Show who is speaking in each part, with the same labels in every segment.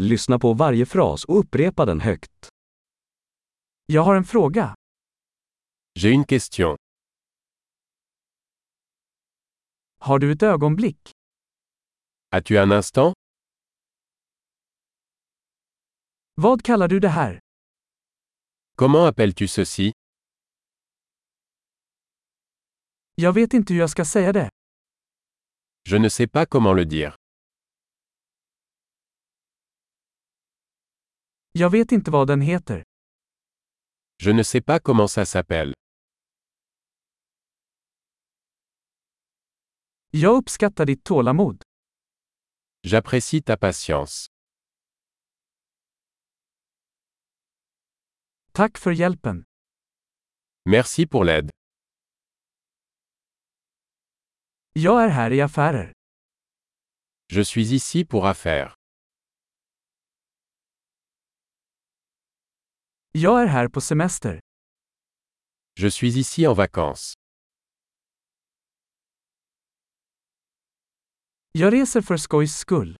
Speaker 1: Lyssna på varje fras och upprepa den högt. Jag har en fråga.
Speaker 2: J'ai une question.
Speaker 1: Har du ett ögonblick?
Speaker 2: As-tu un instant
Speaker 1: Vad kallar du det här?
Speaker 2: Comment appelles-tu ceci
Speaker 1: Jag vet inte hur jag ska säga det.
Speaker 2: Je ne sais pas comment le dire.
Speaker 1: Jag vet inte vad den heter.
Speaker 2: Je ne sais pas comment ça s'appelle.
Speaker 1: Jag uppskattar ditt tålamod.
Speaker 2: J'apprécie ta patience.
Speaker 1: Tack för hjälpen.
Speaker 2: Merci pour l'aide.
Speaker 1: Jag är här i affärer.
Speaker 2: Je suis ici pour affaires.
Speaker 1: Jag är här på semester.
Speaker 2: Je suis ici en vacances.
Speaker 1: Jag reser för skojs skull.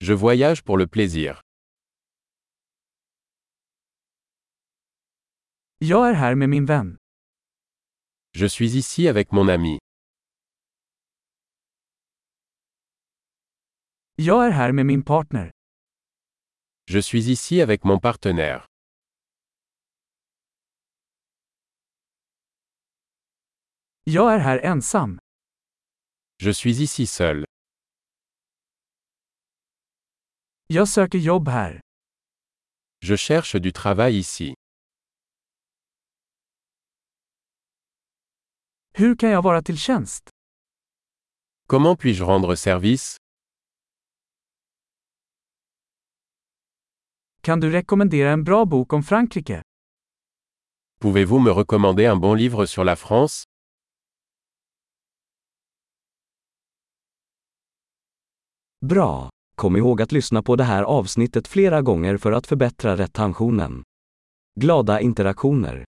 Speaker 2: Je voyage pour le plaisir.
Speaker 1: Jag är här med min vän.
Speaker 2: Je suis ici avec mon ami.
Speaker 1: Jag är här med min partner.
Speaker 2: Je suis ici avec mon partenaire.
Speaker 1: Jag är här ensam.
Speaker 2: Je suis ici seul.
Speaker 1: Jag söker jobb här.
Speaker 2: Je cherche du travail ici.
Speaker 1: Hur kan jag vara till tjänst?
Speaker 2: Comment puis-je rendre service
Speaker 1: Kan du rekommendera en bra bok om Frankrike?
Speaker 2: Pouvez-vous me recommander un bon livre sur la France
Speaker 1: Bra! Kom ihåg att lyssna på det här avsnittet flera gånger för att förbättra retentionen. Glada interaktioner!